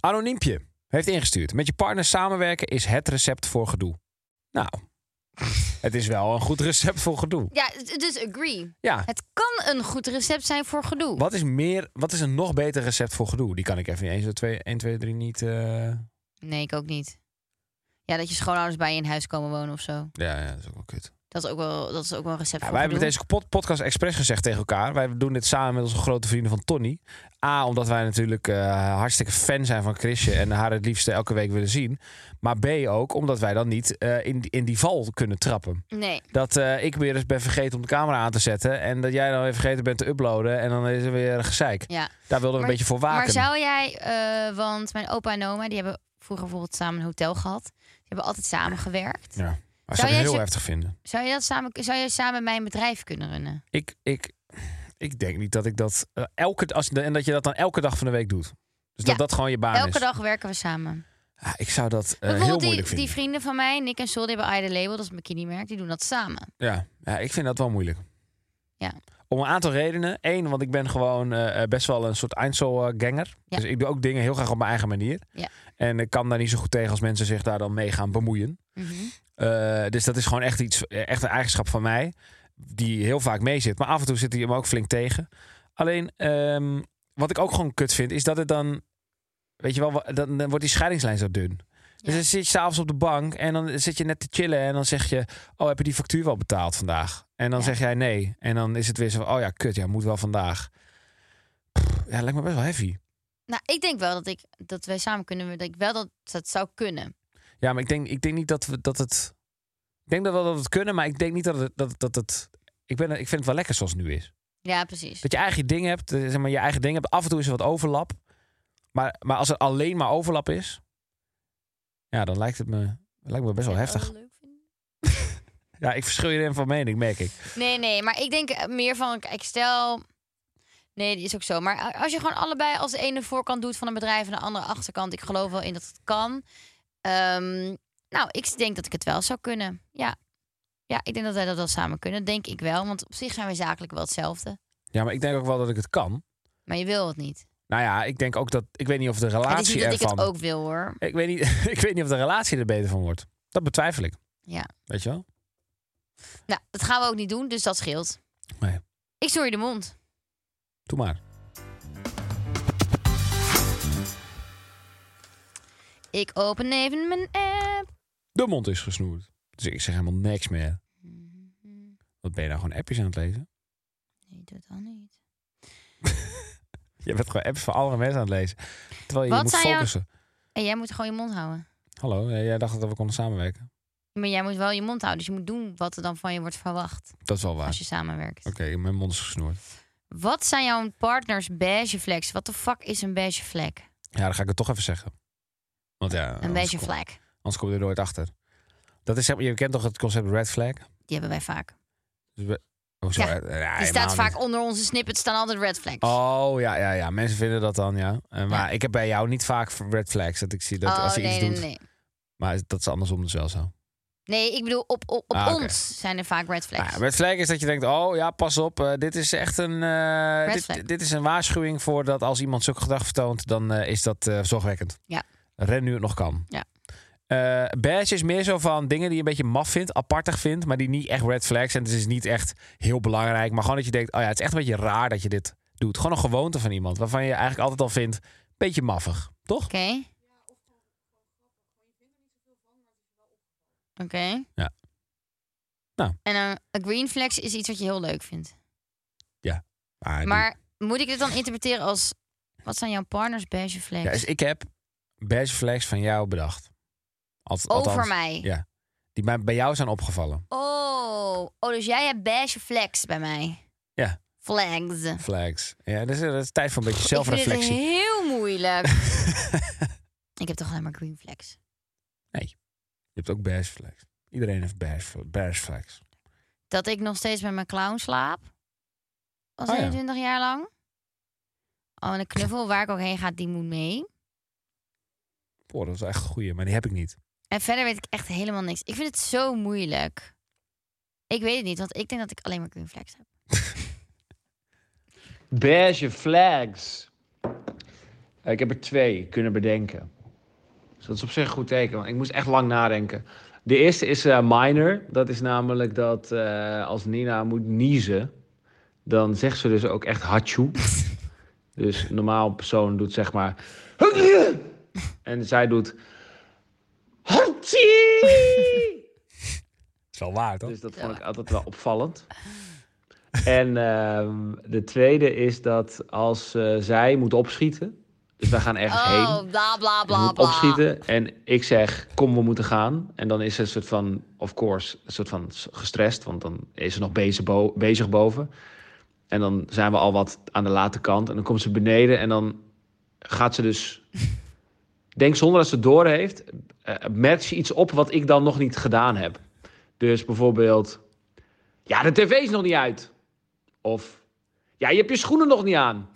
Speaker 1: Anoniempje heeft ingestuurd. Met je partner samenwerken is het recept voor gedoe. Nou, het is wel een goed recept voor gedoe.
Speaker 2: Ja, d- dus agree.
Speaker 1: Ja,
Speaker 2: Het kan een goed recept zijn voor gedoe.
Speaker 1: wat is, meer, wat is een nog beter recept voor gedoe? Die kan ik even in 1, 2, 3 niet... eh,
Speaker 2: Nee, ik ook niet. Ja, dat je schoonouders bij je in huis komen wonen of zo.
Speaker 1: Ja, ja, dat is ook wel kut.
Speaker 2: Dat is ook wel, dat is ook wel een recept
Speaker 1: Ja,
Speaker 2: voor
Speaker 1: wij hebben
Speaker 2: gedoe.
Speaker 1: deze pod- podcast expres gezegd tegen elkaar. Wij doen dit samen met onze grote vrienden van Tony. A, omdat wij natuurlijk eh, hartstikke fan zijn van Chrisje en haar het liefste elke week willen zien. Maar B, ook omdat wij dan niet eh, in, die- in die val kunnen trappen.
Speaker 2: Nee,
Speaker 1: Dat eh, ik weer eens ben vergeten om de camera aan te zetten en dat jij dan weer vergeten bent te uploaden en dan is er weer gezeik.
Speaker 2: ja.
Speaker 1: Daar wilden we
Speaker 2: Maar-
Speaker 1: een beetje voor waken.
Speaker 2: Maar zou jij, eh, want mijn opa en oma, die hebben vroeger bijvoorbeeld samen een hotel gehad. Die hebben altijd samen gewerkt.
Speaker 1: Ja, maar zou,
Speaker 2: jij
Speaker 1: ik heel
Speaker 2: zo-
Speaker 1: heftig vinden.
Speaker 2: Zou je dat samen, zou je samen mijn bedrijf kunnen runnen?
Speaker 1: Ik, ik, ik denk niet dat ik dat eh, elke als, en dat je dat dan elke dag van de week doet. Dus
Speaker 2: Ja.
Speaker 1: dat dat gewoon je baan
Speaker 2: Elke
Speaker 1: is.
Speaker 2: dag werken we samen.
Speaker 1: Ja, ik zou dat eh, heel
Speaker 2: Bijvoorbeeld
Speaker 1: moeilijk
Speaker 2: die,
Speaker 1: vinden.
Speaker 2: die vrienden van mij, Nick en Sol, die hebben Ida Label, dat is een bikini-merk, die doen dat samen.
Speaker 1: Ja, ja, ik vind dat wel moeilijk.
Speaker 2: Ja.
Speaker 1: Om een aantal redenen. Eén, want ik ben gewoon eh, eh, best wel een soort Einzelganger.
Speaker 2: Ja.
Speaker 1: Dus ik doe ook dingen heel graag op mijn eigen manier.
Speaker 2: Ja.
Speaker 1: En ik kan daar niet zo goed tegen als mensen zich daar dan mee gaan bemoeien.
Speaker 2: Mhm.
Speaker 1: Eh, dus dat is gewoon echt, iets, eh, echt een eigenschap van mij. Die heel vaak mee zit. Maar af en toe zit hij hem ook flink tegen. Alleen, ehm, wat ik ook gewoon kut vind, is dat het dan... Weet je wel, wa- dan, dan wordt die scheidingslijn zo dun. Dus
Speaker 2: Ja.
Speaker 1: dan zit je s'avonds op de bank en dan zit je net te chillen. En dan zeg je, oh, heb je die factuur wel betaald vandaag? En dan
Speaker 2: Ja.
Speaker 1: zeg jij nee. En dan is het weer zo van, oh ja, kut, ja, moet wel vandaag. Pff, ja, lijkt me best wel heavy.
Speaker 2: Nou, ik denk wel dat, ik, dat wij samen kunnen, dat ik wel dat, dat zou kunnen.
Speaker 1: Ja, maar ik denk, ik denk niet dat, we, dat het... Ik denk dat we dat het kunnen, maar ik denk niet dat het... Dat, dat het ik, ben, ik vind het wel lekker zoals het nu is.
Speaker 2: Ja, precies.
Speaker 1: Dat je eigen je ding hebt, eh, zeg maar, je eigen ding hebt. Af en toe is er wat overlap. Maar, maar als er alleen maar overlap is... Ja, dan lijkt het me, lijkt me best wel
Speaker 2: Zou je het
Speaker 1: heftig.
Speaker 2: wel leuk vinden?
Speaker 1: Ja, ik verschil je van mening, merk ik.
Speaker 2: Nee, nee, maar ik denk eh, meer van, kijk, stel... Nee, dat is ook zo. Maar a- als je gewoon allebei als de ene voorkant doet van een bedrijf... en de andere achterkant, ik geloof wel in dat het kan. Ehm, nou, ik denk dat ik het wel zou kunnen, ja. Ja, ik denk dat wij dat wel samen kunnen. Denk ik wel. Want op zich zijn wij zakelijk wel hetzelfde.
Speaker 1: Ja, maar ik denk ook wel dat ik het kan.
Speaker 2: Maar je wil het niet.
Speaker 1: Nou ja, ik denk ook dat. Ik weet niet of de
Speaker 2: Het is
Speaker 1: relatie
Speaker 2: niet dat ik
Speaker 1: ervan.
Speaker 2: het ook wil hoor.
Speaker 1: Ik weet, niet, ik weet niet of de relatie er beter van wordt. Dat betwijfel ik.
Speaker 2: Ja.
Speaker 1: Weet je wel?
Speaker 2: Nou, dat gaan we ook niet doen, dus dat scheelt.
Speaker 1: Nee.
Speaker 2: Ik stoor je de mond.
Speaker 1: Doe maar.
Speaker 2: Ik open even mijn app.
Speaker 1: De mond is gesnoerd. Dus ik zeg helemaal niks meer. Wat ben je nou gewoon appjes aan het lezen?
Speaker 2: Nee, doe dat niet.
Speaker 1: Je bent gewoon apps van andere mensen aan het lezen. Terwijl je,
Speaker 2: Wat
Speaker 1: moet
Speaker 2: zijn jouw-
Speaker 1: focussen.
Speaker 2: En jij moet gewoon je mond houden.
Speaker 1: Hallo, eh, jij dacht dat we konden samenwerken.
Speaker 2: Maar jij moet wel je mond houden, dus je moet doen wat er dan van je wordt verwacht
Speaker 1: Dat is wel waar.
Speaker 2: als je samenwerkt.
Speaker 1: Oké, mijn mond is gesnoerd.
Speaker 2: Wat zijn jouw partners beige vleks? Wat de fuck is een beige vlek?
Speaker 1: Ja, dan ga ik het toch even zeggen. Want ja,
Speaker 2: een
Speaker 1: anders
Speaker 2: beige
Speaker 1: Oh, kom-
Speaker 2: vlek.
Speaker 1: Anders kom je er nooit achter. Dat is, zeg maar- je kent toch het concept red flag?
Speaker 2: Die hebben wij vaak.
Speaker 1: Dus we- oh, zo,
Speaker 2: Ja,
Speaker 1: eh, ja,
Speaker 2: Die
Speaker 1: helemaal
Speaker 2: staat
Speaker 1: niet.
Speaker 2: vaak onder onze snippets, staan altijd red flags.
Speaker 1: Oh ja, ja, ja. Mensen vinden dat dan, ja. Eh, maar ik heb bij jou niet vaak red flags. Dat ik zie dat
Speaker 2: Oh,
Speaker 1: als je
Speaker 2: nee,
Speaker 1: iets
Speaker 2: nee,
Speaker 1: doet.
Speaker 2: nee.
Speaker 1: Maar dat is andersom dus wel zo.
Speaker 2: Nee, ik bedoel, op, op, op
Speaker 1: Ah, oké.
Speaker 2: ons zijn er vaak red
Speaker 1: Nou,
Speaker 2: flags.
Speaker 1: ja, red flag is dat je denkt, oh ja, pas op. eh, dit is echt een, eh,
Speaker 2: Red flag.
Speaker 1: dit, dit is een waarschuwing voor dat als iemand zulke gedrag vertoont, dan eh, is dat eh, zorgwekkend.
Speaker 2: Ja.
Speaker 1: Ren nu het nog kan.
Speaker 2: Ja.
Speaker 1: Eh, badge is meer zo van dingen die je een beetje maf vindt, apartig vindt, maar die niet echt red flags. En het is niet echt heel belangrijk, maar gewoon dat je denkt, oh ja, het is echt een beetje raar dat je dit doet. Gewoon een gewoonte van iemand, waarvan je eigenlijk altijd al vindt, beetje maffig, toch?
Speaker 2: Oké. Oké.
Speaker 1: Ja. Nou.
Speaker 2: En eh, een green flex is iets wat je heel leuk vindt.
Speaker 1: Ah, die-
Speaker 2: Maar moet ik dit dan interpreteren als... Wat zijn jouw partners beige flags?
Speaker 1: Ja, dus ik heb badge flags van jou bedacht. Alt-
Speaker 2: Over
Speaker 1: althans,
Speaker 2: mij?
Speaker 1: Ja, die bij, bij jou zijn opgevallen.
Speaker 2: Oh, oh, dus jij hebt beige flags bij mij.
Speaker 1: Ja.
Speaker 2: Flags.
Speaker 1: Flags. Ja, dus, eh, dat is tijd voor een beetje
Speaker 2: Ik
Speaker 1: zelfreflectie.
Speaker 2: vind het heel moeilijk. ik heb toch alleen maar green flags.
Speaker 1: Je hebt ook badge flags. Iedereen heeft badge, badge flags.
Speaker 2: Dat ik nog steeds met mijn clown slaap. Al
Speaker 1: Oh ja.
Speaker 2: 21 jaar lang. Oh, en de knuffel waar ik ook heen ga, die moet mee.
Speaker 1: Boah, dat is wel echt een goeie, maar die heb ik niet.
Speaker 2: En verder weet ik echt helemaal niks. Ik vind het zo moeilijk. Ik weet het niet, want ik denk dat ik alleen maar green flags heb.
Speaker 7: Beige flags. Ik heb er twee kunnen bedenken. Dus dat is op zich een goed teken, want ik moest echt lang nadenken. De eerste is eh, minor. Dat is namelijk dat eh, als Nina moet niezen, dan zegt ze dus ook echt hachu. dus een normaal persoon doet zeg maar... En zij doet... Hachi!
Speaker 1: is wel waar, toch?
Speaker 7: Dus dat vond ik altijd wel opvallend. En ehm, de tweede is dat als eh, zij moet opschieten. Dus wij gaan ergens heen.
Speaker 2: Oh, bla bla
Speaker 7: ze
Speaker 2: bla
Speaker 7: moet
Speaker 2: bla.
Speaker 7: opschieten. En ik zeg, kom, we moeten gaan. En dan is ze een soort van, of course, een soort van s- gestrest. Want dan is ze nog bezig, bo- bezig boven. En dan zijn we al wat aan de late kant. En dan komt ze beneden en dan gaat ze dus... Denk zonder dat ze het door heeft, eh, merkt ze iets op wat ik dan nog niet gedaan heb. Dus bijvoorbeeld, ja, de tv is nog niet uit. Of, ja, je hebt je schoenen nog niet aan.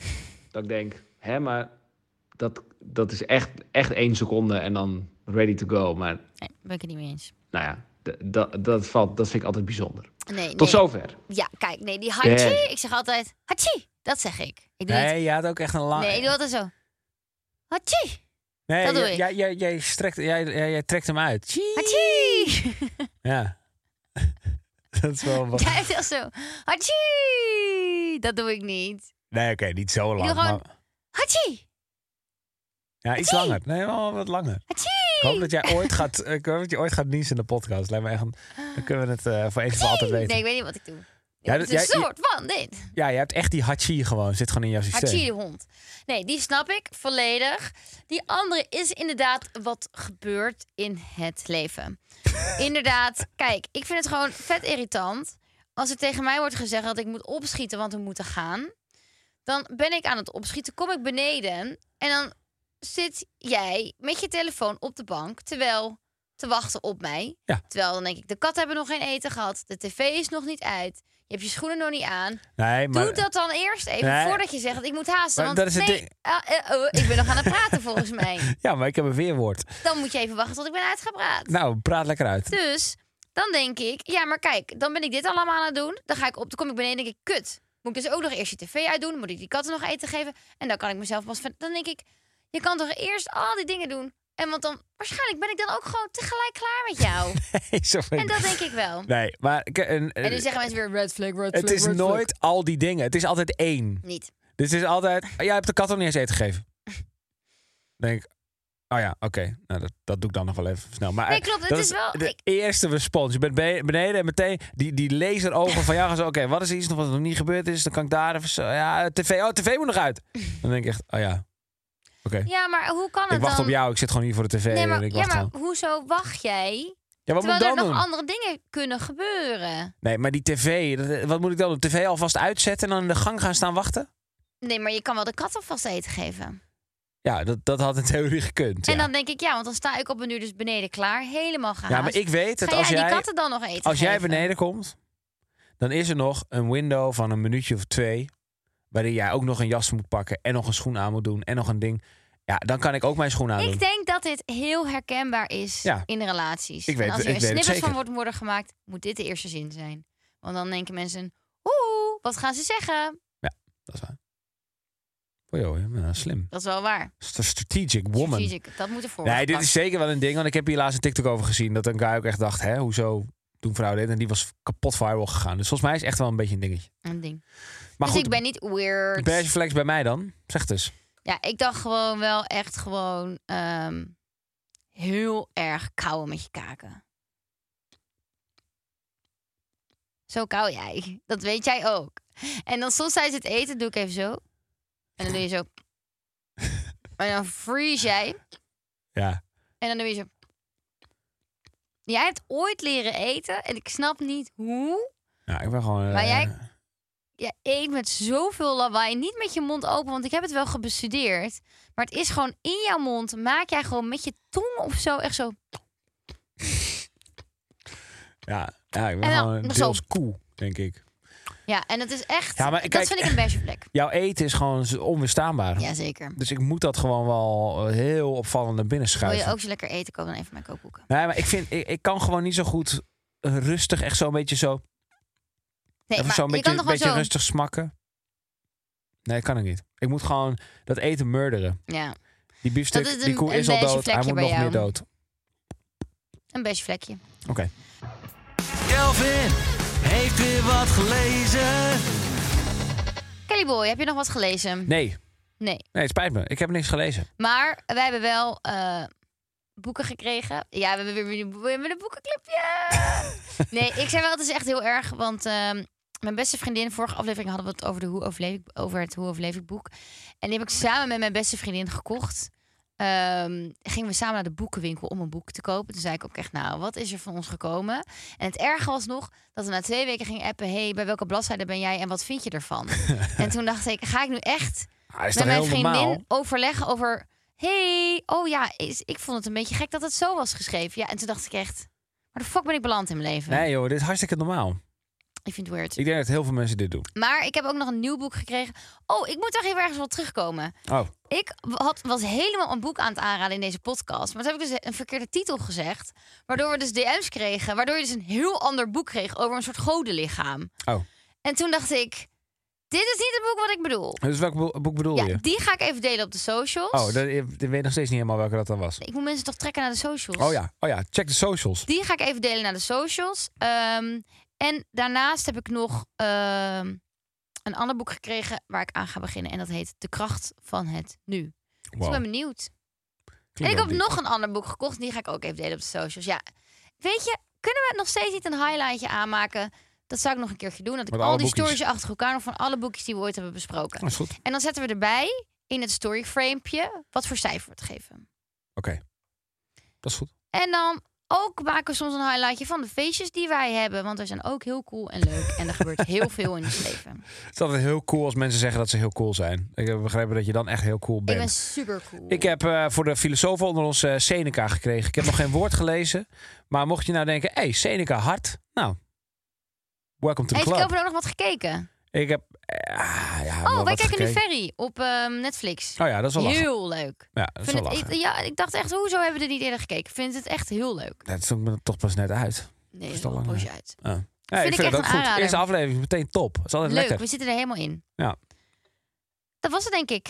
Speaker 7: Dat ik denk, hè, maar dat, dat is echt, echt één seconde en dan ready to go. Maar
Speaker 2: Nee, ben ik het niet mee eens.
Speaker 7: nou ja, d- dat, dat, valt, dat vind ik altijd bijzonder.
Speaker 2: Nee,
Speaker 7: Tot
Speaker 2: nee.
Speaker 7: zover.
Speaker 2: Ja, kijk, nee, die hachi.
Speaker 7: Beige.
Speaker 2: Ik zeg altijd hachi. Dat zeg ik. Ik doe niet.
Speaker 1: Nee, je had ook echt een lang...
Speaker 2: Nee, ik doe altijd zo. Hachi.
Speaker 1: Nee,
Speaker 2: dat doe
Speaker 1: jij-
Speaker 2: ik.
Speaker 1: Jij, jij, jij, strekt, jij, jij, jij trekt hem uit. Tjie.
Speaker 2: Hachi.
Speaker 1: Ja. dat is wel...
Speaker 2: Jij hebt heel zo. Hachi. Dat doe ik niet.
Speaker 1: Nee, oké, niet zo lang.
Speaker 2: doe gewoon-
Speaker 1: maar-
Speaker 2: Hachi.
Speaker 1: Ja, iets
Speaker 2: Tjie.
Speaker 1: langer. Nee, wel wat langer.
Speaker 2: Hachi.
Speaker 1: Ik hoop dat jij ooit gaat, ik hoop dat je ooit gaat niezen in de podcast. Lijkt me echt een- dan kunnen we het eh, voor eens en voor altijd weten.
Speaker 2: Nee, ik weet niet wat ik doe.
Speaker 1: Ja,
Speaker 2: het
Speaker 1: dat-
Speaker 2: is een
Speaker 1: jij-
Speaker 2: soort van dit.
Speaker 1: Ja, je hebt echt die hachi gewoon. Zit gewoon in jouw systeem.
Speaker 2: Hachi, die hond. Nee, die snap ik volledig. Die andere is inderdaad wat gebeurt in het leven. inderdaad, kijk, ik vind het gewoon vet irritant. Als er tegen mij wordt gezegd dat ik moet opschieten, want we moeten gaan. Dan ben ik aan het opschieten, kom ik beneden. En dan zit jij met je telefoon op de bank terwijl te wachten op mij.
Speaker 1: Ja.
Speaker 2: Terwijl dan denk ik, de kat hebben nog geen eten gehad. De tv is nog niet uit. Je hebt je schoenen nog niet aan.
Speaker 1: Nee, maar
Speaker 2: Doe dat dan eerst even
Speaker 1: Nee.
Speaker 2: voordat je zegt ik moet haasten.
Speaker 1: Maar
Speaker 2: Want
Speaker 1: dat is het
Speaker 2: nee,
Speaker 1: ding.
Speaker 2: ah, eh, oh, ik ben nog aan het praten volgens mij.
Speaker 1: Ja, maar ik heb een weerwoord.
Speaker 2: Dan moet je even wachten tot ik ben uitgepraat.
Speaker 1: Nou, praat lekker uit.
Speaker 2: Dus Dan denk ik, ja, maar kijk, dan ben ik dit allemaal aan het doen. Dan ga ik op, dan kom ik beneden en denk ik, kut. Moet ik dus ook nog eerst je tv uitdoen? Moet ik die katten nog eten geven? En dan kan ik mezelf pas... van- Dan denk ik, je kan toch eerst al die dingen doen? En want dan, waarschijnlijk ben ik dan ook gewoon tegelijk klaar met jou.
Speaker 1: Zo van-
Speaker 2: en dat denk ik wel.
Speaker 1: Nee, maar ik- en,
Speaker 2: En nu zeggen mensen weer red flag, red flag,
Speaker 1: het is
Speaker 2: red flag.
Speaker 1: nooit al die dingen. Het is altijd één.
Speaker 2: Niet.
Speaker 1: Dus het is altijd, "Oh, jij hebt de kat al niet eens eten gegeven. Dan denk ik, oh ja, oké. Nou, dat, dat doe ik dan nog wel even snel. Maar
Speaker 2: Nee,
Speaker 1: eh,
Speaker 2: klopt, het
Speaker 1: dat
Speaker 2: is wel-
Speaker 1: de
Speaker 2: ik-
Speaker 1: eerste respons. Je bent be- beneden en meteen die, die laserogen van jou gaan zo... Oké, wat is er iets nog wat nog niet gebeurd is? Dan kan ik daar even zo... Ja, tv, oh, tv moet nog uit. Dan denk ik echt, oh ja, oké.
Speaker 2: Ja, maar hoe kan het
Speaker 1: Ik wacht
Speaker 2: dan?
Speaker 1: op jou, ik zit gewoon hier voor de tv.
Speaker 2: Nee, maar,
Speaker 1: en ik
Speaker 2: ja,
Speaker 1: wacht
Speaker 2: maar
Speaker 1: gewoon.
Speaker 2: hoezo wacht jij?
Speaker 1: ja, wat moet ik
Speaker 2: terwijl
Speaker 1: dan
Speaker 2: er nog
Speaker 1: doen?
Speaker 2: andere dingen kunnen gebeuren.
Speaker 1: Nee, maar die tv, dat- wat moet ik dan doen? TV alvast uitzetten en dan in de gang gaan staan wachten?
Speaker 2: Nee, maar je kan wel de kat alvast eten geven.
Speaker 1: Ja, dat, dat had in theorie gekund.
Speaker 2: En
Speaker 1: ja.
Speaker 2: dan denk ik, ja, want dan sta ik op een uur dus beneden klaar. Helemaal gehaast.
Speaker 1: ja, maar ik weet dat
Speaker 2: Ga
Speaker 1: als
Speaker 2: jij die
Speaker 1: jij,
Speaker 2: katten dan nog eten
Speaker 1: als jij
Speaker 2: geven?
Speaker 1: beneden komt, dan is er nog een window van een minuutje of twee. Waarin jij ook nog een jas moet pakken en nog een schoen aan moet doen en nog een ding. Ja, dan kan ik ook mijn schoen aan doen.
Speaker 2: Ik denk dat dit heel herkenbaar is
Speaker 1: Ja.
Speaker 2: in relaties.
Speaker 1: Ik weet
Speaker 2: en als
Speaker 1: het-
Speaker 2: hier
Speaker 1: ik weet het
Speaker 2: snippets van
Speaker 1: zeker.
Speaker 2: wordt worden gemaakt, moet dit de eerste zin zijn. Want dan denken mensen, oeh, wat gaan ze zeggen?
Speaker 1: Dat is waar. Oh joh, ja, maar slim.
Speaker 2: Dat is wel waar.
Speaker 1: St- Strategic woman.
Speaker 2: Strategic, dat moet ervoor
Speaker 1: Nee, dit is
Speaker 2: gepakt.
Speaker 1: zeker wel een ding. Want ik heb hier laatst een TikTok over gezien. Dat een guy ook echt dacht, hè, hoezo doen vrouwen dit? En die was kapot viral gegaan. Dus volgens mij is het echt wel een beetje een dingetje.
Speaker 2: een ding.
Speaker 1: Maar
Speaker 2: dus
Speaker 1: goed,
Speaker 2: ik ben niet weird.
Speaker 1: beige flex bij mij dan. Zeg het eens.
Speaker 2: Ja, ik dacht gewoon wel echt gewoon ehm, heel erg kauwen met je kaken. Zo kauw jij. Dat weet jij ook. En dan soms tijdens het eten doe ik even zo. En dan doe je zo. En dan freeze jij.
Speaker 1: Ja.
Speaker 2: En dan doe je zo. Jij hebt ooit leren eten. En ik snap niet hoe.
Speaker 1: Ja, ik ben gewoon...
Speaker 2: Maar
Speaker 1: eh,
Speaker 2: jij- Je eet met zoveel lawaai. Niet met je mond open, want ik heb het wel gebestudeerd. Maar het is gewoon in jouw mond. Maak jij gewoon met je tong of zo. Echt zo.
Speaker 1: Ja, ja, ik ben
Speaker 2: En dan
Speaker 1: gewoon
Speaker 2: nog zo.
Speaker 1: deels koe, denk ik.
Speaker 2: Ja, en dat is echt.
Speaker 1: Ja, maar kijk-
Speaker 2: dat vind ik een beige vlek.
Speaker 1: Jouw eten is gewoon z- onweerstaanbaar.
Speaker 2: Jazeker.
Speaker 1: Dus ik moet dat gewoon wel eh, heel opvallend naar binnen
Speaker 2: Wil
Speaker 1: schuiven.
Speaker 2: je ook zo lekker eten? Koop dan even mijn kookboeken.
Speaker 1: Nee, maar ik, vind, ik, ik kan gewoon niet zo goed eh, rustig echt zo'n beetje zo...
Speaker 2: Nee,
Speaker 1: even
Speaker 2: maar
Speaker 1: zo'n
Speaker 2: je
Speaker 1: beetje,
Speaker 2: kan toch wel
Speaker 1: beetje
Speaker 2: zo.
Speaker 1: rustig smakken. Nee, kan ik niet. Ik moet gewoon dat eten murderen.
Speaker 2: Ja,
Speaker 1: Die biefstuk,
Speaker 2: Dat is
Speaker 1: die
Speaker 2: een-
Speaker 1: koe
Speaker 2: een
Speaker 1: is al
Speaker 2: beige
Speaker 1: dood. Hij
Speaker 2: vlekje
Speaker 1: moet
Speaker 2: bij
Speaker 1: nog
Speaker 2: jou.
Speaker 1: meer dood.
Speaker 2: een beige vlekje.
Speaker 1: Oké.
Speaker 3: Kelvin heeft weer wat gelezen.
Speaker 2: Kelly Boy, heb je nog wat gelezen?
Speaker 1: Nee,
Speaker 2: Nee.
Speaker 1: nee, het spijt me. Ik heb niks gelezen.
Speaker 2: Maar wij hebben wel eh, boeken gekregen. Ja, we hebben weer- weer weer- weer met een boekenclubje. nee, ik zei wel, het is echt heel erg. Want ehm, mijn beste vriendin, vorige aflevering hadden we het over, de hoe overleef ik, over het Hoe overleef ik boek. En die heb ik samen met mijn beste vriendin gekocht. Ehm, gingen we samen naar de boekenwinkel om een boek te kopen. Toen zei ik ook echt, nou, wat is er van ons gekomen? En het erge was nog dat we na twee weken gingen appen... hey, bij welke bladzijde ben jij en wat vind je ervan? en toen dacht ik, ga ik nu echt
Speaker 1: Ah, dat is
Speaker 2: met
Speaker 1: toch
Speaker 2: mijn
Speaker 1: heel
Speaker 2: vriendin
Speaker 1: normaal?
Speaker 2: overleggen over... hey, oh ja, is, ik vond het een beetje gek dat het zo was geschreven. Ja, en toen dacht ik echt... Maar de fuck ben ik beland in mijn leven?
Speaker 1: Nee joh, dit is hartstikke normaal.
Speaker 2: Ik vind het weird.
Speaker 1: Ik denk dat heel veel mensen dit doen.
Speaker 2: Maar ik heb ook nog een nieuw boek gekregen. Oh, ik moet toch even ergens wat terugkomen.
Speaker 1: Oh,
Speaker 2: Ik had, was helemaal een boek aan het aanraden in deze podcast. Maar toen heb ik dus een verkeerde titel gezegd. Waardoor we dus DM's kregen. Waardoor je dus een heel ander boek kreeg over een soort godenlichaam.
Speaker 1: oh.
Speaker 2: En toen dacht ik... Dit is niet het boek wat ik bedoel.
Speaker 1: Dus welk boek- boek bedoel
Speaker 2: Ja,
Speaker 1: je?
Speaker 2: die ga ik even delen op de socials.
Speaker 1: Oh, dat, ik weet nog steeds niet helemaal welke dat dan was.
Speaker 2: Ik moet mensen toch trekken naar de socials.
Speaker 1: Oh ja, oh ja, check de socials.
Speaker 2: Die ga ik even delen naar de socials. Ehm, en daarnaast heb ik nog ehm, een ander boek gekregen waar ik aan ga beginnen. En dat heet De Kracht van het Nu. Dus ik
Speaker 1: Wow.
Speaker 2: ben benieuwd. En
Speaker 1: Klinkt
Speaker 2: ik
Speaker 1: wel
Speaker 2: heb
Speaker 1: diep.
Speaker 2: nog een ander boek gekocht. Die ga ik ook even delen op de socials. Ja, weet je, kunnen we nog steeds niet een highlightje aanmaken? Dat zou ik nog een keertje doen. Dat ik
Speaker 1: Met
Speaker 2: al
Speaker 1: alle
Speaker 2: die
Speaker 1: boekjes.
Speaker 2: stories achter elkaar nog van alle boekjes die we ooit hebben besproken.
Speaker 1: Oh, is goed. Oké.
Speaker 2: En dan zetten we erbij in het storyframepje wat voor cijfer we het geven.
Speaker 1: Dat is goed.
Speaker 2: En dan ook maken we soms een highlightje van de feestjes die wij hebben. Want wij zijn ook heel cool en leuk. En er gebeurt heel veel in ons leven.
Speaker 1: Het is altijd heel cool als mensen zeggen dat ze heel cool zijn. Ik heb begrepen dat je dan echt heel cool
Speaker 2: Ik
Speaker 1: bent.
Speaker 2: ben super cool.
Speaker 1: Ik heb eh, voor de filosofen onder ons eh, Seneca gekregen. Ik heb nog geen woord gelezen. Maar mocht je nou denken, hey, Seneca hard. Nou, welcome to the
Speaker 2: Heeft
Speaker 1: club.
Speaker 2: Kelvin ook nog wat gekeken?
Speaker 1: Ik heb... eh, ah, ja, wel
Speaker 2: oh, wij
Speaker 1: wat
Speaker 2: kijken nu
Speaker 1: gekeken.
Speaker 2: Ferry op ehm, Netflix.
Speaker 1: Oh ja, dat is wel lachen.
Speaker 2: heel leuk.
Speaker 1: Ja, dat is wel
Speaker 2: Vind het,
Speaker 1: lachen.
Speaker 2: ik, ja, ik dacht echt, hoezo hebben we er niet eerder gekeken? Ik vind het echt heel leuk.
Speaker 1: Dat zoek me toch pas net uit.
Speaker 2: Nee,
Speaker 1: is
Speaker 2: dat
Speaker 1: toch
Speaker 2: is een
Speaker 1: lang,
Speaker 2: poosje uit.
Speaker 1: Ja,
Speaker 2: Vind ik echt
Speaker 1: het ook
Speaker 2: een
Speaker 1: goed.
Speaker 2: aanrader.
Speaker 1: Eerste aflevering, is meteen top. Dat is altijd
Speaker 2: Leuk,
Speaker 1: lekker.
Speaker 2: we zitten er helemaal in.
Speaker 1: Ja.
Speaker 2: Dat was het, denk ik.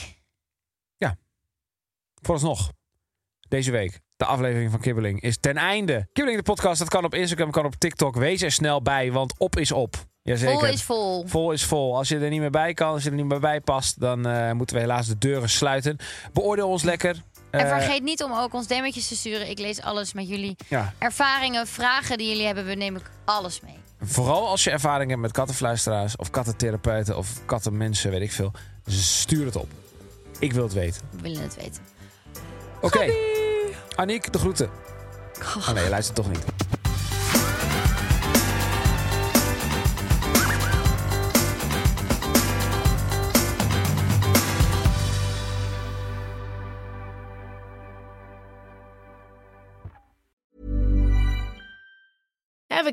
Speaker 1: Vooralsnog, deze week, de aflevering van Kibbeling is ten einde. Kibbeling de podcast, dat kan op Instagram, kan op TikTok. Wees er snel bij, want op is op. Jazeker.
Speaker 2: Vol is vol.
Speaker 1: Vol is vol. Als je er niet meer bij kan, als je er niet meer bij past, dan eh, moeten we helaas de deuren sluiten. Beoordeel ons lekker.
Speaker 2: En
Speaker 1: Eh,
Speaker 2: vergeet niet om ook ons demetjes te sturen. Ik lees alles met jullie.
Speaker 1: ja,
Speaker 2: Ervaringen, vragen die jullie hebben, we nemen alles mee.
Speaker 1: vooral als je ervaring hebt met kattenfluisteraars of kattentherapeuten of kattenmensen, weet ik veel. Stuur het op. Ik wil het weten.
Speaker 2: We willen het weten.
Speaker 1: Oké. Aniek, de groeten. Oh nee, luister toch niet.
Speaker 4: Ever